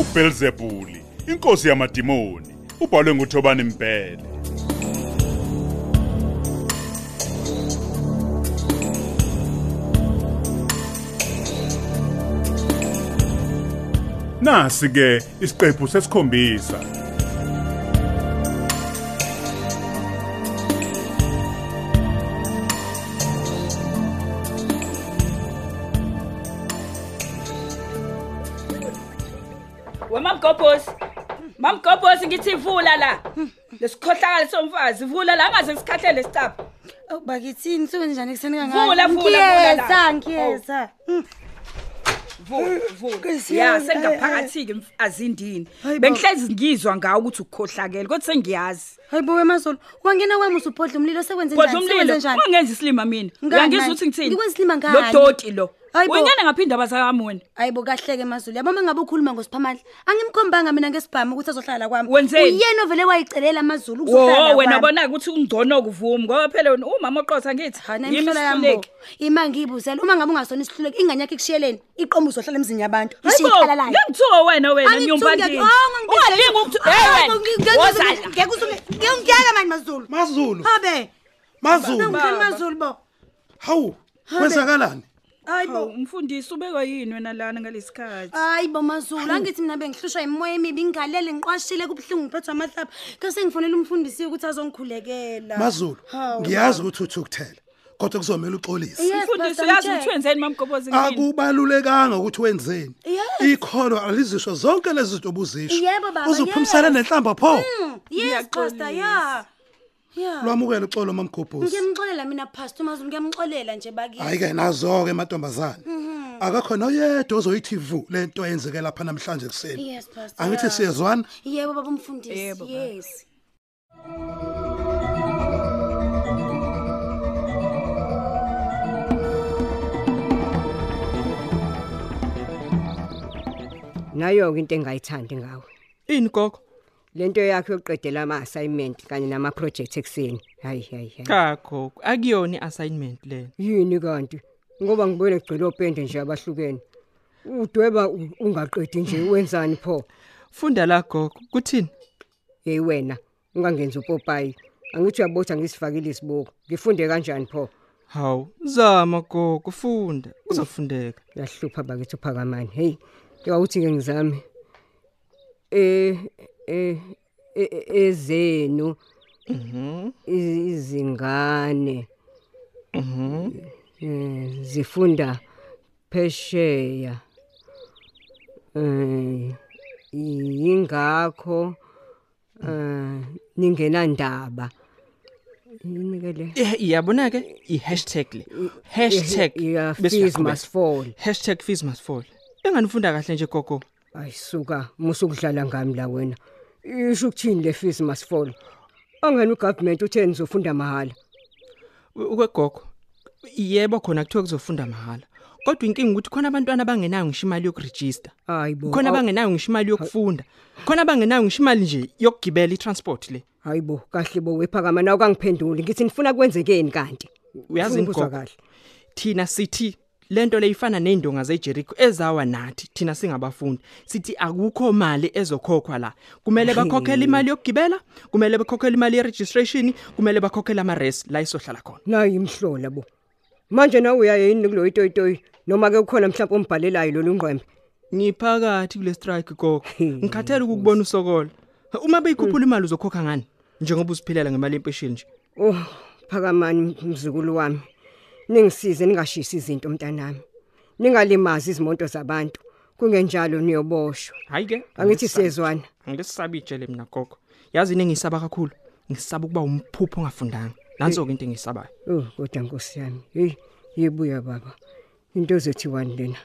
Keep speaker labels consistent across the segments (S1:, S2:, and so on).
S1: uBelzebuli inkosi yamadimoni ubhalwe nguThobani Mbhele Nasi ke isiqephu sesikhombisa
S2: wemamgobhosi mamgobhosi ngithi vula la lesikhohlakala somfazi vula la angaze sikhahlele sicapha
S3: Awu, bakithini suke Oh, njani ekuseni
S2: Vula, vula, vula la.
S3: ngiyeza
S2: vula vula
S3: Nkosi
S2: ya
S3: yami,
S2: sengingaphakathi-ke mfazindini
S3: eh, Hayi bo.
S2: bengihlezi ngizwa ngawo ukuthi ukukhohlakele kodwa sengiyazi
S3: hayi bo wemazolo wangena kwami usubhodla umlilo sekwenze
S2: kodwa
S3: njani?
S2: umlilo
S3: Sekwenze njani
S2: ungenza isilima mina
S3: Ngani
S2: uyangizwa
S3: manje?
S2: ukuthi ngithini
S3: Ngikwesilima
S2: lo
S3: ngani?
S2: doti lo
S3: Hayi bo.
S2: uyingena ngaphinde abazakami wena
S3: hayi bo kahleke mazulu yabo uma ngabe ukhuluma ngosiphamandla angimkhombanga mina ngesibhamu ukuthi azohlala kwami
S2: Wenzeni?
S3: uyena ovele wayicelela amazulu
S2: wo
S3: ukuzohlala kwami.
S2: wena bona-ke ukuthi ungcono kuvumi ngoba phela wena umama oqotha ngithi
S3: Hhayi,
S2: yimi
S3: nayimhlola yami
S2: isihluleki.
S3: bo. ima ngiyibuzela uma ngabe ungasona isihluleki ingane yakho ikishiyeleni iqomo uzohlala emzini yabantu
S2: Hayibo,
S3: ishiyikhala layo
S2: ngengithuka wena wena nyumpandini
S3: Oh,
S2: ungalingi ukuthiwozala
S3: ngiyongiyeka mani mazulu
S4: mazulu
S3: abe
S4: mazulu
S3: nangumkhani mazulu bo
S4: hawu kwenzakalani
S3: hayi bo
S2: umfundisi ubekwa yini wena lana ngalesi khathi
S3: hayi bo mazulu angithi mina bengihlushwa yimoya emibi ngigalele ngiqwashile kubuhlungu ngiphethwa amahlapha kase ngifonela umfundisi ukuthi azongikhulekela
S4: mazulu
S3: Hawu.
S4: ngiyazi ukuthi uthukuthela kodwa kuzomela uxolise
S3: Yes,
S2: umfundisi
S3: Pastor
S2: uyazi
S3: Mtsheke.
S2: ukuthi wenzeni mamgobozi ngini
S4: akubalulekanga ukuthi wenzeni
S3: Yes.
S4: ikholo alizisho zonke lezi zinto obuzisho
S3: Yebo, baba,
S4: uzuphumsana
S3: yes.
S4: nenhlamba pho
S3: Mm, yes pastor ya ya
S4: lwamukela uxolo mamgobhosi
S3: ngiyamxolela mina pastor mazulu ngiyamxolela nje bakithi
S4: hayi-ke nazo-ke amantombazane
S3: Mhm.
S4: akakho noyedwa ozoyithi vu le nto eyenzeke lapha namhlanje ekuseni
S3: yes pastor
S4: angithi
S3: ya.
S4: siyezwana
S3: yebo baba umfundisi
S2: Yebo, baba.
S3: yes
S5: nayo-ke into engayithandi ngawe
S6: ini gogo
S5: le nto yakho yokuqedela ama-assignment kanye namaprojekthi ekuseni hayi hayi hayi
S6: cha gogo akuyona i-assignment leyo
S5: yini kanti ngoba ngibone kugcwele opende nje abahlukene udweba u- ungaqedi nje wenzani pho
S6: funda la gogo kuthini
S5: yeyi wena ungangenzi upopayi angithi uyabotha ngisifakile isibuko ngifunde kanjani pho
S6: hawu zama gogo funda kuzofundeka
S5: yahlupha bakithi uphakamani heyi kewawuthi-ke ngizame Eh, eh, eh, eh, ezenu i- izingane eh, zifunda phesheya um yingakho um ningenandaba yini-ke le
S6: Eh, iyabona-ke i-hashtag le hashtag
S5: Eh, ya-
S6: bese
S5: fees
S6: uyaqhubeka.
S5: must fall.
S6: hashtag fees must fall enganifunda kahle nje gogo
S5: hayi suka musukudlala ngami la wena isho ukuthini le fees masifolo angani ugovernment uthe nizofunda mahhala
S6: ukwegogo yebo khona kuthiwa kuzofunda mahhala kodwa inkinga ukuthi khona abantwana abangenayo ngisho imali yokurejista
S5: hayi bo
S6: khona
S5: awu-
S6: abangenayo ngisho imali yokufunda khona abangenayo ngisho imali nje yokugibela i-transport le
S5: hayi bo kahle bo wephakama nawe kangiphenduli ngithi nifuna kwenzekeni kanti
S6: uyazi
S5: Ngifuna ukuzwa
S6: gogo.
S5: kahle
S6: thina sithi lento leyifana nendonga zeJericho ezawa nathi thina singabafundi sithi akukho mali ezokhokhwa la kumele bakhokhele imali yokugibela kumele bakhokhele imali yeregistration kumele bakhokhele ama-res la isohlala khona
S5: nayi imhlola bo manje nawe uyaye yini kuloyi toyitoyi noma-ke ukhona mhlawumpe ombhalelayo lolu ngqwembe
S6: ngiphakathi kule strike gogo ngikhathele ukukubona usokola uma
S5: Hmm.
S6: beyikhuphula imali uzokhokha ngani njengoba uziphilela ngemali yempesheni nje
S5: Oh, phakamani mzukulu wami. Ningisize ningashisi izinto mntanami. Ningalimazi izimoto zabantu. Kungenjalo niyoboshwa.
S6: hhayi-ke
S5: Angithi siyezwana.
S6: angilesisabe ijele mina gogo yazi into engisaba kakhulu ngisaba ukuba umphupho ongafundanga nanso-ke into engiyisabayo
S5: Oh, kodwa nkosi yami. Hey, yebuya baba. Into zethiwani lena?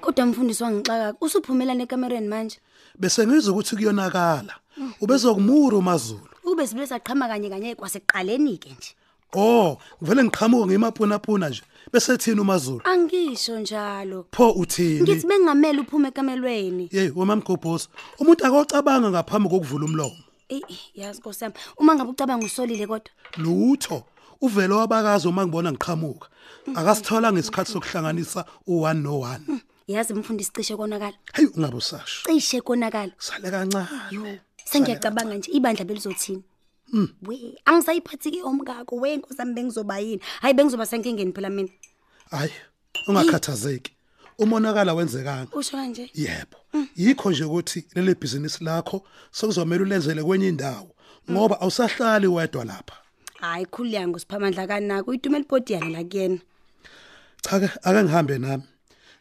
S3: kodwa mfundisi wangixakaka usuphumelana ekamereni manje
S4: bese ngizwa ukuthi kuyonakala ubezokumura umazulu
S3: ube sibe saqhama kanye kanye kwasekuqaleni-ke nje
S4: o Oh, ngivele ngiqhamuke ngimapunapuna nje bese thina umazulu
S3: angisho njalo
S4: pho uthini
S3: ngithi bengingamele uphume ekamelweni
S4: yeyi wemamgobhosi umuntu akocabanga ngaphambi kokuvula umlomo
S3: eyi yazi nkosi yami uma ngabe ucabanga usolile kodwa
S4: lutho uvele wabakazi uma ngibona ngiqhamuka
S3: Mm.
S4: akasithola ngesikhathi sokuhlanganisa u1 no1
S3: yazi mfundisi cishe konakala
S4: hey ungabe usasho
S3: cishe konakala
S4: sale kancane
S3: sengiyacabanga nje ibandla belizothini we angisayiphathike omkako we nkosi yami bengizoba yini hhayi bengizoba senkingeni phela mina
S4: hayi ungakhathazeki umonakala wenzekanga
S3: usho kanje
S4: yebo yikho nje ukuthi leli bhizinisi lakho sekuzomela ulenzele kwenye indawo ngoba awusahlali wedwa lapha
S3: hhayi khulu yango siphamandla kanako idume elibhodi yalela kuyena
S4: cha ke ake ngihambe nami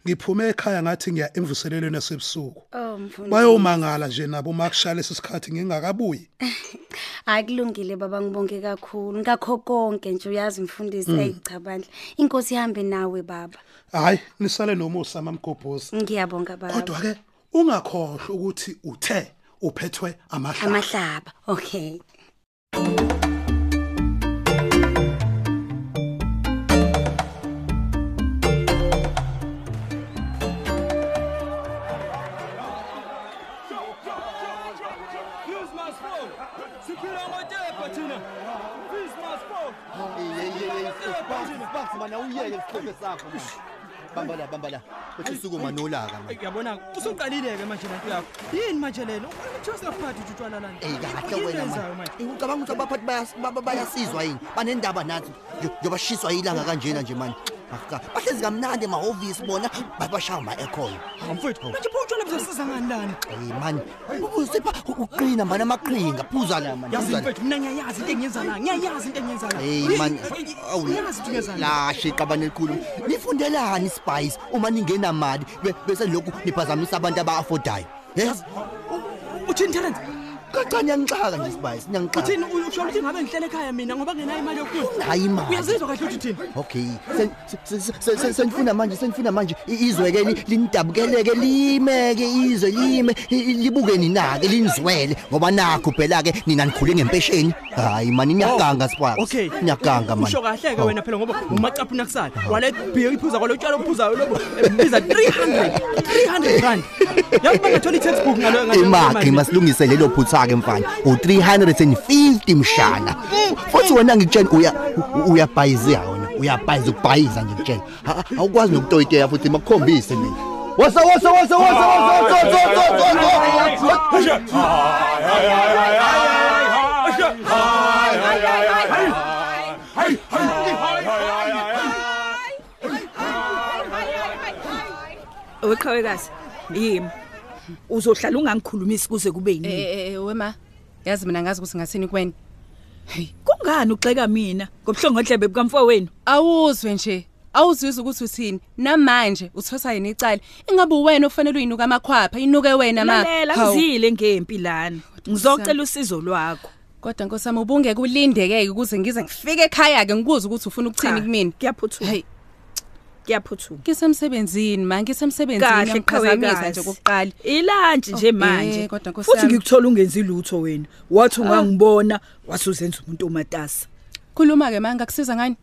S4: ngiphume ekhaya ngathi ngiya emvuselelweni yasebusuku
S3: o Oh, mfundisi
S4: bayomangala nje nabo uma kushaya lesi sikhathi ngingakabuyi
S3: hayi kulungile baba ngibonge kakhulu ngakho konke nje uyazi mfundisi eyi cha bandla inkosi ihambe nawe baba
S4: hhayi nisale nomusa mamgobhozi
S3: ngiyabonga baba
S4: kodwa-ke ungakhohlwa ukuthi uthe uphethwe amahlanga
S3: amahlaba okay
S7: Bambi mana uyeke isithebe sakho. Bamba la bamba la. Uthi sukuma nolaka manje.
S8: yabona usuqalile-ke manje lanto yakho yini manje lena ukuthiwa singakuphathi nje utshwala lani
S7: Eh kahle wena manje. Eh, Ucabanga ukuthi abaphathi bayas- ba- ba- bayasizwa yini? Banendaba nathi. nje- Njengoba shiswa ilanga kanjena nje manje. Baka. Bahlezi kamnandi emahhovisi bona babashaya ma ekhona.
S8: mfethu manje pho utshwala buzosiza ngani lani
S7: Eh man. Ubusipha uqina mana amaqhinga phuza la manje.
S8: yazi
S7: phuza la.
S8: mfethu mina ngiyayazi into engiyenza la ngiyayazi into engiyenza la
S7: Hey man, awu
S8: awuyazi into engiyenza la
S7: lashe iqabane elikhulu. Nifundelani spice uma ningenamali be- bese lokhu niphazamisa abantu abaafodayo. Yes.
S8: uthini terence
S7: Kancane yangixaka nje spice, nyangixaka.
S8: uthini usho ukuthi ngabe ngihlele ekhaya mina ngoba ngenayo imali yokuya
S7: Hayi imali.
S8: uyazizwa kahle ukuthi uthini
S7: Okay, sen- sen- sen- sen- senifuna manje, senifuna manje i- izwe ke li- linidabukeleke limeke izwe lime i- i- libuke ninake linizwele ngoba nakho phela ke nina nikhule ngempesheni. Hayi mani nyakanga spice.
S8: Oh, okay
S7: nyakanga mani.
S8: usho kahle-ke
S7: Oh.
S8: wena phela ngoba umacaphuna kusala wale bhiya iphuza kwalo tshalo ophuzayo lobo biza 300 300 rand yazi bangathola i-textbook ngalo- ngalo-
S7: imagi
S8: ngalo-
S7: masilungise lelo phutha-ke mfana u-350 mshana futhi wena ngikutshena uya- u- uyabhayiziya wena uyabhayiza ukubhayiza nje ngitshena A- a- awukwazi nokutoyiteya futhi makukhombise mina wasa wasa wasa wasa wasa, wasa, wasa, wasa, wasa, wasa.
S2: oqhawekazi yimi uzohlala ungangikhulumisi kuze kube yini
S9: Eh, eh, wema yazi mina ngazi ukuthi ngathini kweni
S2: kungani ugxeka mina ngobuhlongodlebe bukamfowenu
S9: awuzwe nje awuzizwe ukuthi uthini namanje uthosa yena icala ingabe uwena ofanele uyinuka amakhwapha inuke wena ma
S2: lalela
S9: Hawu.
S2: ngizile ngempi lana ngizocela usizo lwakho
S9: kodwa nkosami ubungeke ulindeke-ke ukuze ngize ngifike ekhaya-ke ngikuze ukuthi ufuna ukuchini
S2: Cha,
S9: kumina
S2: Ah, kuyaphuthuma
S9: Hayi.
S2: kuyaphuthuma
S9: ngisemsebenzini ma ngisemsebenzini
S2: kahle
S9: ngiyamuqhazamisa nje kokuqala
S2: ilantshi nje
S9: Oh,
S2: manje
S9: eh, kodwa Ah. Nkosi
S2: futhi
S9: yami.
S2: ngikuthola ungenzi lutho wena wathi ungangibona wathi uzenza umuntu omatasa
S9: khuluma-ke ma ngakusiza ngani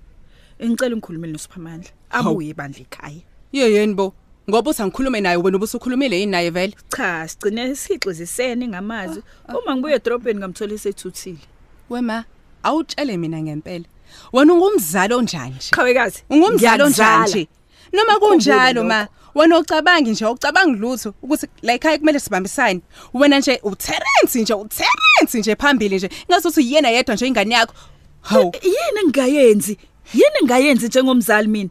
S2: ngicela ungikhulumele nosiphamandla abuye ebandla ekhaya
S9: ye yeni bo ngoba uthi angikhulume naye wena ubusukhulumile yini naye vele
S2: cha sigcine sihixizisene ngamazwi uma ngibuye edrobheni ngamthola esethuthile
S9: wema awutshele mina ngempela wena ungumzali onjani nje
S2: qhawekazi
S9: ungumzali onjani nje noma
S2: Ukukhumbule
S9: kunjalo ma wena ucabangi nje awucabangi lutho ukuthi la ekhaya kumele sibambisane wena nje uterence nje uterence nje phambili nje ngazuthi yena yedwa nje ingane yakho hawu
S2: yini engingayenzi yini engingayenzi njengomzali mina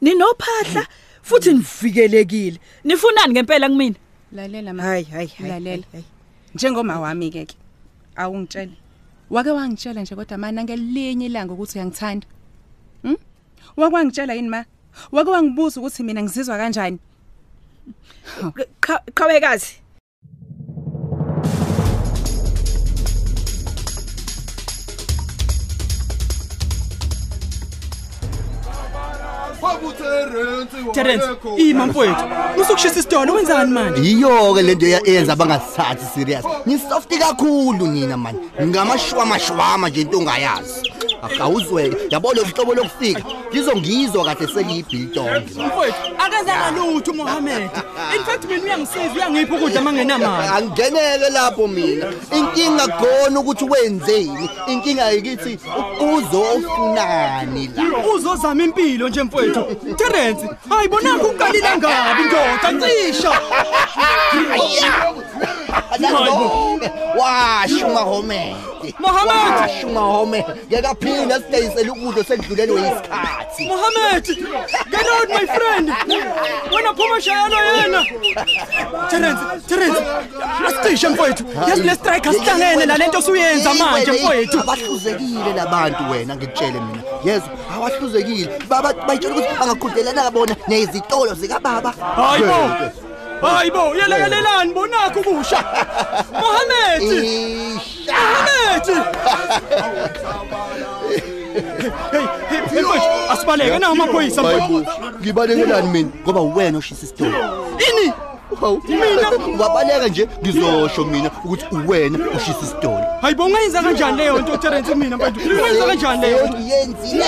S2: ninophahla
S4: Hmm.
S2: futhi nivikelekile nifunani ngempela kumina
S9: lalela
S2: hayi hayi
S9: Lalela. njengoma wami ke ke awungitshele wake wangitshela nje kodwa mana ngelinye ilanga ukuthi uyangithanda hm wake wangitshela yini ma wake wangibuza ukuthi mina ngizizwa kanjani
S2: qhawekazi
S8: terence ima mfowethu usukushisa isidolo wenzani manje
S7: yiyo-ke lento eyenza abangasithathi serious nisofti kakhulu nina mani ngamashwamashwama nje into ongayazi awuzweke yabona uhlobo lokufika ngizongizwa kade seliyibhiltongi
S8: mfowethu akazanga lutho umohamed in fact mina uyangisiza uyangipha ukudla uma ngenamali
S7: angingenele lapho mina inkinga khona ukuthi wenzeni inkinga yikithi uzofunani la
S8: uzozama impilo nje mfowethu terence ayibonanga ukuqalile ngabi ndoda ncisha
S7: Alangombe washo umahomede
S8: Mohammed!
S7: washo umahomede ngekaphinde asidayisele ukudla sendlulelwe yisikhathi
S8: mohamed get out my friend wena phuma shayalo yena terence terence asicishe mfowethu yazi le strike asihlangene nale nto osuyenza manje mfowethu
S7: abahluzekile labantu wena ngitshele mina yezwa abahluzekile baba bayitshela ukuthi bangakhudlelana bona nezitolo zikababa
S8: hayi bo hayi bo yelekelelani bonakho ukusha mohamed
S7: Isha.
S8: Abethi. Hey, hey, mfowethu, asibaleke na amaphoyisa mfowethu.
S7: Hayibo, ngibalekelani mina ngoba uwena oshisa isitolo
S8: Ini?
S7: mina ngabaleka nje ngizosho mina ukuthi uwena ushisa isitolo
S8: Hayibo ungayenza kanjani leyo nto Terence mina mfowethu? Ungayenza kanjani leyo nto?
S7: yenzile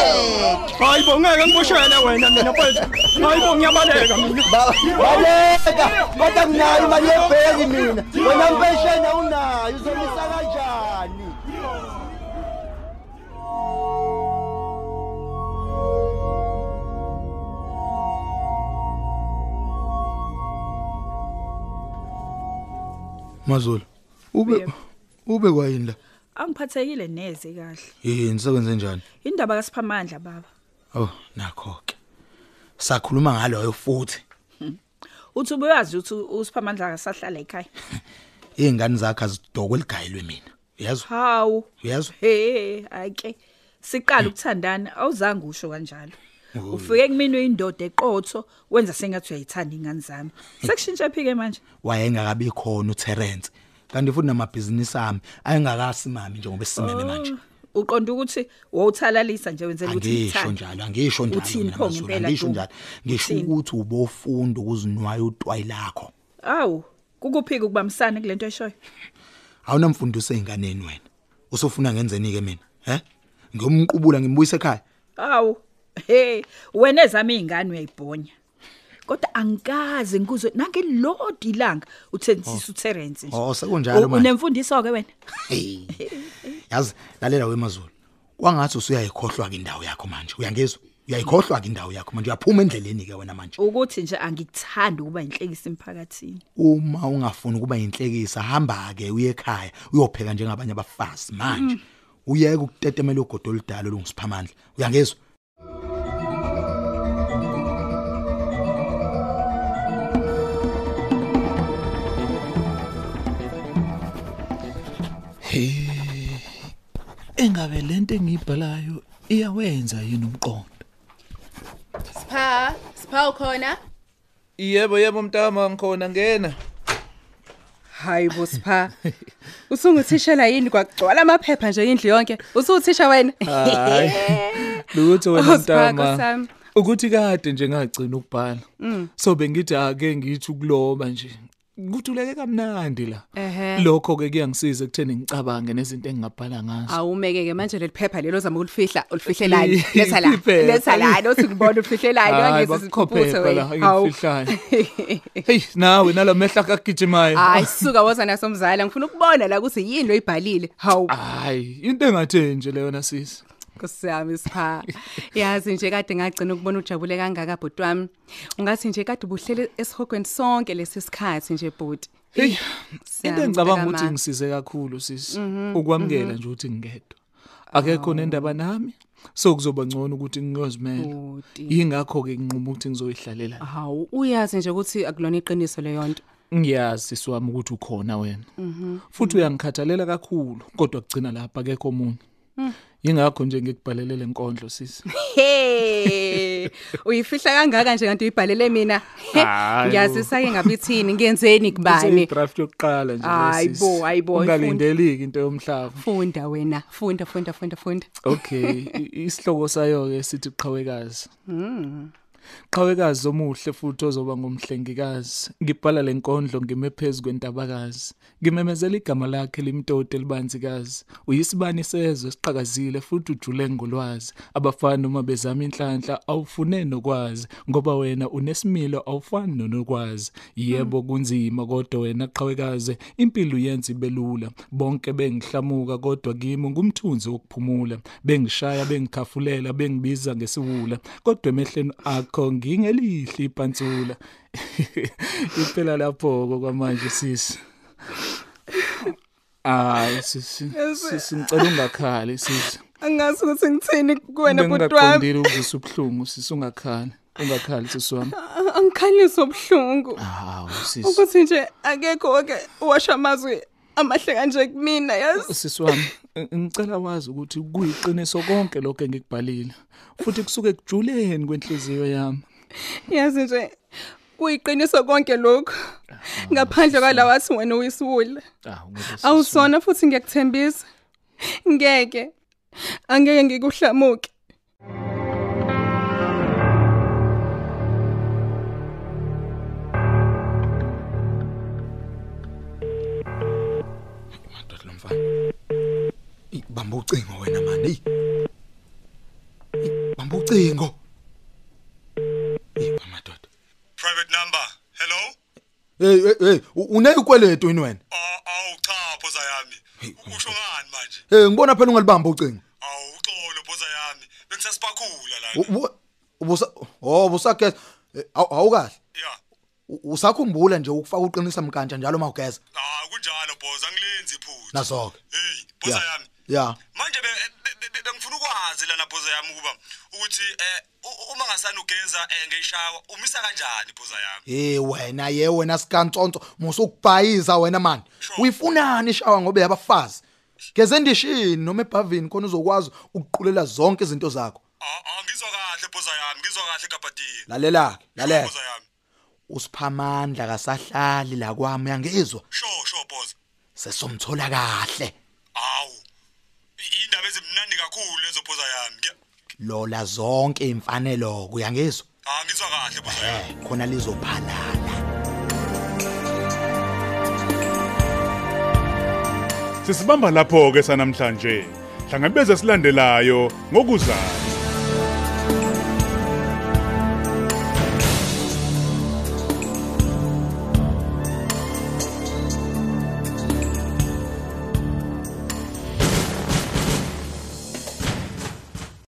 S8: Hayibo ngeke ngiboshele wena mina mfowethu. Hayibo ngiyabaleka mina.
S7: baleka kodwa nginayo imali yebheki mina wena mpesheni awunayo uzomisa kanjani
S10: mazulu ube ube kwayini la
S2: Angiphathekile neze kahle.
S10: yini sekwenze njani
S2: Indaba kaSiphamandla baba.
S10: oh nakho ke sakhuluma ngaloyo futhi
S2: Uthi ubuyazi ukuthi uSiphamandla akasahlala ekhaya.
S10: izingane zakhe azidokwe ligayelwe mina uyazwa
S2: Hawu.
S10: uyazwa
S2: He, ayike. Siqala ukuthandana awuzange usho kanjalo. Ufike kimi uyindoda eqotho wenza sengathi uyayithanda ingane zami. Sekushintsha phike manje.
S10: wayengakabi khona uTerence kanti futhi namabhizinisi ami ayengakasimami njengoba esimeme manje
S2: Uqonda Oh, ukuthi wowuthalalisa nje wenzela Oh, ukuthi
S10: angisho njalo angisho njalo
S2: Uthini
S10: mina
S2: pho
S10: Mazulu,
S2: ngempela,
S10: angisho
S2: Duma?
S10: njalo ngisho
S2: Uthini?
S10: ukuthi ubofunda ukuzinwaya utwayi lakho
S2: Awu, kukuphika ukubambisana kulento eshoyo.
S10: awunamfundiso einganeni wena usofuna ngenzeni ke mina he ngiyomqubula ngimbuyise ekhaya
S2: Awu. Hey, wena ezami izingane uyayibhonya. Kodwa angikaze ngikuzwe nange lodi ilanga uthentisisa uTerence nje.
S10: Oh, sekunjalo
S2: U-
S10: manje.
S2: Unemfundiso ke wena.
S10: Hey. Yazi lalela wemazulu. Kwangathi usuyayikhohlwa ke indawo yakho manje. Uyangizwa? Uyayikhohlwa ke indawo yakho manje. Uyaphuma endleleni ke wena manje.
S2: Ukuthi nje angikuthandi ukuba inhlekisa emphakathini.
S10: Uma ungafuni ukuba inhlekisa hamba ke uye ekhaya uyopheka njengabanye abafazi manje. Uyeke ukutetemela ugodo oludala olungisiphamandla. Uyangizwa?
S11: engabe lento engiyibhalayo iyawenza yini umqondo
S12: Sipha, sipha ukhona?
S11: yebo yebo mntama ngikhona ngena
S9: hayi bo sipha usungithishela yini kwagcwala amaphepha nje indlu yonke usuwuthisha wena
S11: hayi lutho
S9: Oh,
S11: wena
S9: Sipha,
S11: mntama
S9: Nkosi
S11: ukuthi kade nje ngagcina ukubhala
S9: Hmm.
S11: so bengithi ake ngithi ukuloba nje kuthuleke kamnandi la
S9: Ehhe.
S11: lokho ke kuyangisiza ekutheni ngicabange nezinto engingabhala ngazo
S9: awumeke-ke manje leli phepha lelo zama ulifihla ulifihlelani letha la
S11: Iphepha.
S9: letha lana othi ngibona ulifihlelani
S11: Hayi,
S9: angeze
S11: bakukhophe
S9: sikhuputhe
S11: phela,
S9: wena
S11: hayi,
S9: Hawu.
S11: ngifihlayo. hey nawe nalamehla akagijimayo
S9: hayi suka woza nasomzala ngifuna ukubona la ukuthi yini oyibhalile hawu
S11: hayi into engathe nje leyo nasisi
S9: kusami sipha yazi nje kade ngagcina ukubona ujabule kangaka bhuti wami ungathi nje kade ubuhlele esihogweni sonke lesi sikhathi nje bhuti
S11: Hey, into
S9: siyamcela
S11: engicabanga ukuthi
S9: ma.
S11: ngisize kakhulu sisi
S9: Mhm,
S11: ukwamukela nje ukuthi ngingedwa.
S9: Oh.
S11: Akekho nendaba nami. So kuzoba ngcono ukuthi ngiyozimela.
S9: Bhuti.
S11: Yingakho ke nginquma ukuthi ngizoyihlalela. la.
S9: hawu uyazi nje ukuthi akulona iqiniso leyo nto
S11: Ngiyazi sisi wami ukuthi ukhona wena.
S9: Mhm.
S11: Futhi uyangikhathalela kakhulu kodwa kugcina lapha akekho omunye.
S9: hmm,
S11: Yingakho nje ngikubhalele le nkondlo sisi.
S9: he uyifihla kangaka nje kanti uyibhalele mina He,
S11: Hayi bo.
S9: ngiyazi sake ngabe ithini ngenzeni kubani
S11: Isidraft yokuqala nje
S9: Hayi
S11: sisi.
S9: bo, hayi bo,
S11: Ungalindeliki into yomhlaba.
S9: funda wena funda funda funda funda Hmm.
S11: Okay, i- isihloko sayo ke sithi qhawekazi. qhawekazi omuhle futhi ozoba ngumhlengikazi ngibhala lenkondlo ngime phezu kwentabakazi ngimemezela igama lakhe limtoti elibanzikazi uyisibani sezwe siqhakazile futhi ujule ngolwazi abafana uma bezama inhlanhla awufune nokwazi ngoba wena unesimilo awufani nonokwazi yebo kunzima kodwa wena qhawekazi impilo yenza ibelula bonke bengihlamuka kodwa kimi ngumthunzi wokuphumula bengishaya bengikhafulela bengibiza ngesiwula kodwa emehleni akho ngingelihle ipantsula impela lapho-ko kwamanje sisi hayi sisi sisi ngicela ungakhali sisi
S13: angazi ukuthi ngithini kuwena bhuti wami
S11: bengingaqondile ukuzwisa ubuhlungu sisi ungakhali ungakhali sisi wami
S13: A- angikhalisi obuhlungu
S11: hawu sisi
S13: ukuthi nje akekho-ke uwasho amazwi amahle kanje kumina yazi
S11: sisi wami ng- ngicela wazi ukuthi kuyiqiniso konke lokho engikubhalile futhi kusuke kujuleni kwenhliziyo yami
S13: yazi nje kuyiqiniso konke lokhu ngaphandle kwala wathi wena uyisiwule awusona futhi ngiyakuthembisa ngeke angeke ngikuhlamuke
S10: lo mfana Eyi, bamba ucingo wena mani eyi Eyi, bamba ucingo
S8: private number hello
S10: hey hey, hey u- uneyikweleto yini wena
S8: aw awu cha phoza yami usho ngani manje
S10: hey ngibona phela ungalibamba ucingo
S8: awu uxolo phoza yami bengisasibakhula la
S10: U- u- ubusa oh busageza Eh, awu- awukahle
S8: ya
S10: U- usakhumbula nje ukufaka uqinisa mkantsha njalo mawugeza
S8: ah kunjalo boza ngilenzi iphutha
S10: nasoke
S8: hey phoza yami
S10: ya
S8: manje be- be- be- be- bengifuna ukwazi lana phoza yami ukuba ukuthi eh u- u- uma ngasani ugeza eh ngeyishawa umisa kanjani phoza yami
S10: hey wena ye wena sikantsonto musukubhayiza wena mani uyifunani ishawa ngobe yabafazi geze ndishini noma ebhavini khona uzokwazi ukuqulela zonke izinto zakho
S8: Oh, ngizwa kahle phoza yami ngizwa kahle kabhadini
S10: lalela lalela
S8: phoza yami
S10: usiphamandla kasahlali la kwami uyangizwa
S8: sho sho phoza
S10: sesomthola kahle
S8: awu i- indaba ezimnandi kakhulu lezo phoza yami Ngiya-
S10: lola zonke imfanelo uyangizwa Eh,
S8: ah ngizwa kahle phoza yami
S10: khona lizophalala
S1: Sisibamba lapho ke sanamhlanje. Hlangabeze silandelayo ngokuzayo.